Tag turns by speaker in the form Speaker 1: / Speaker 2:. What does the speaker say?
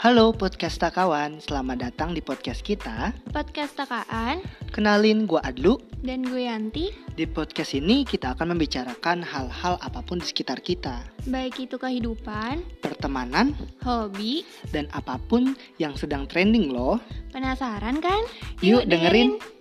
Speaker 1: Halo podcast takawan, selamat datang di podcast kita.
Speaker 2: Podcast Takaan
Speaker 1: Kenalin gua Adlu.
Speaker 2: dan gue Yanti,
Speaker 1: Di podcast ini kita akan membicarakan hal-hal apapun di sekitar kita,
Speaker 2: baik itu kehidupan,
Speaker 1: pertemanan
Speaker 2: hobi,
Speaker 1: dan apapun yang sedang trending loh.
Speaker 2: penasaran kan?
Speaker 1: Yuk dengerin.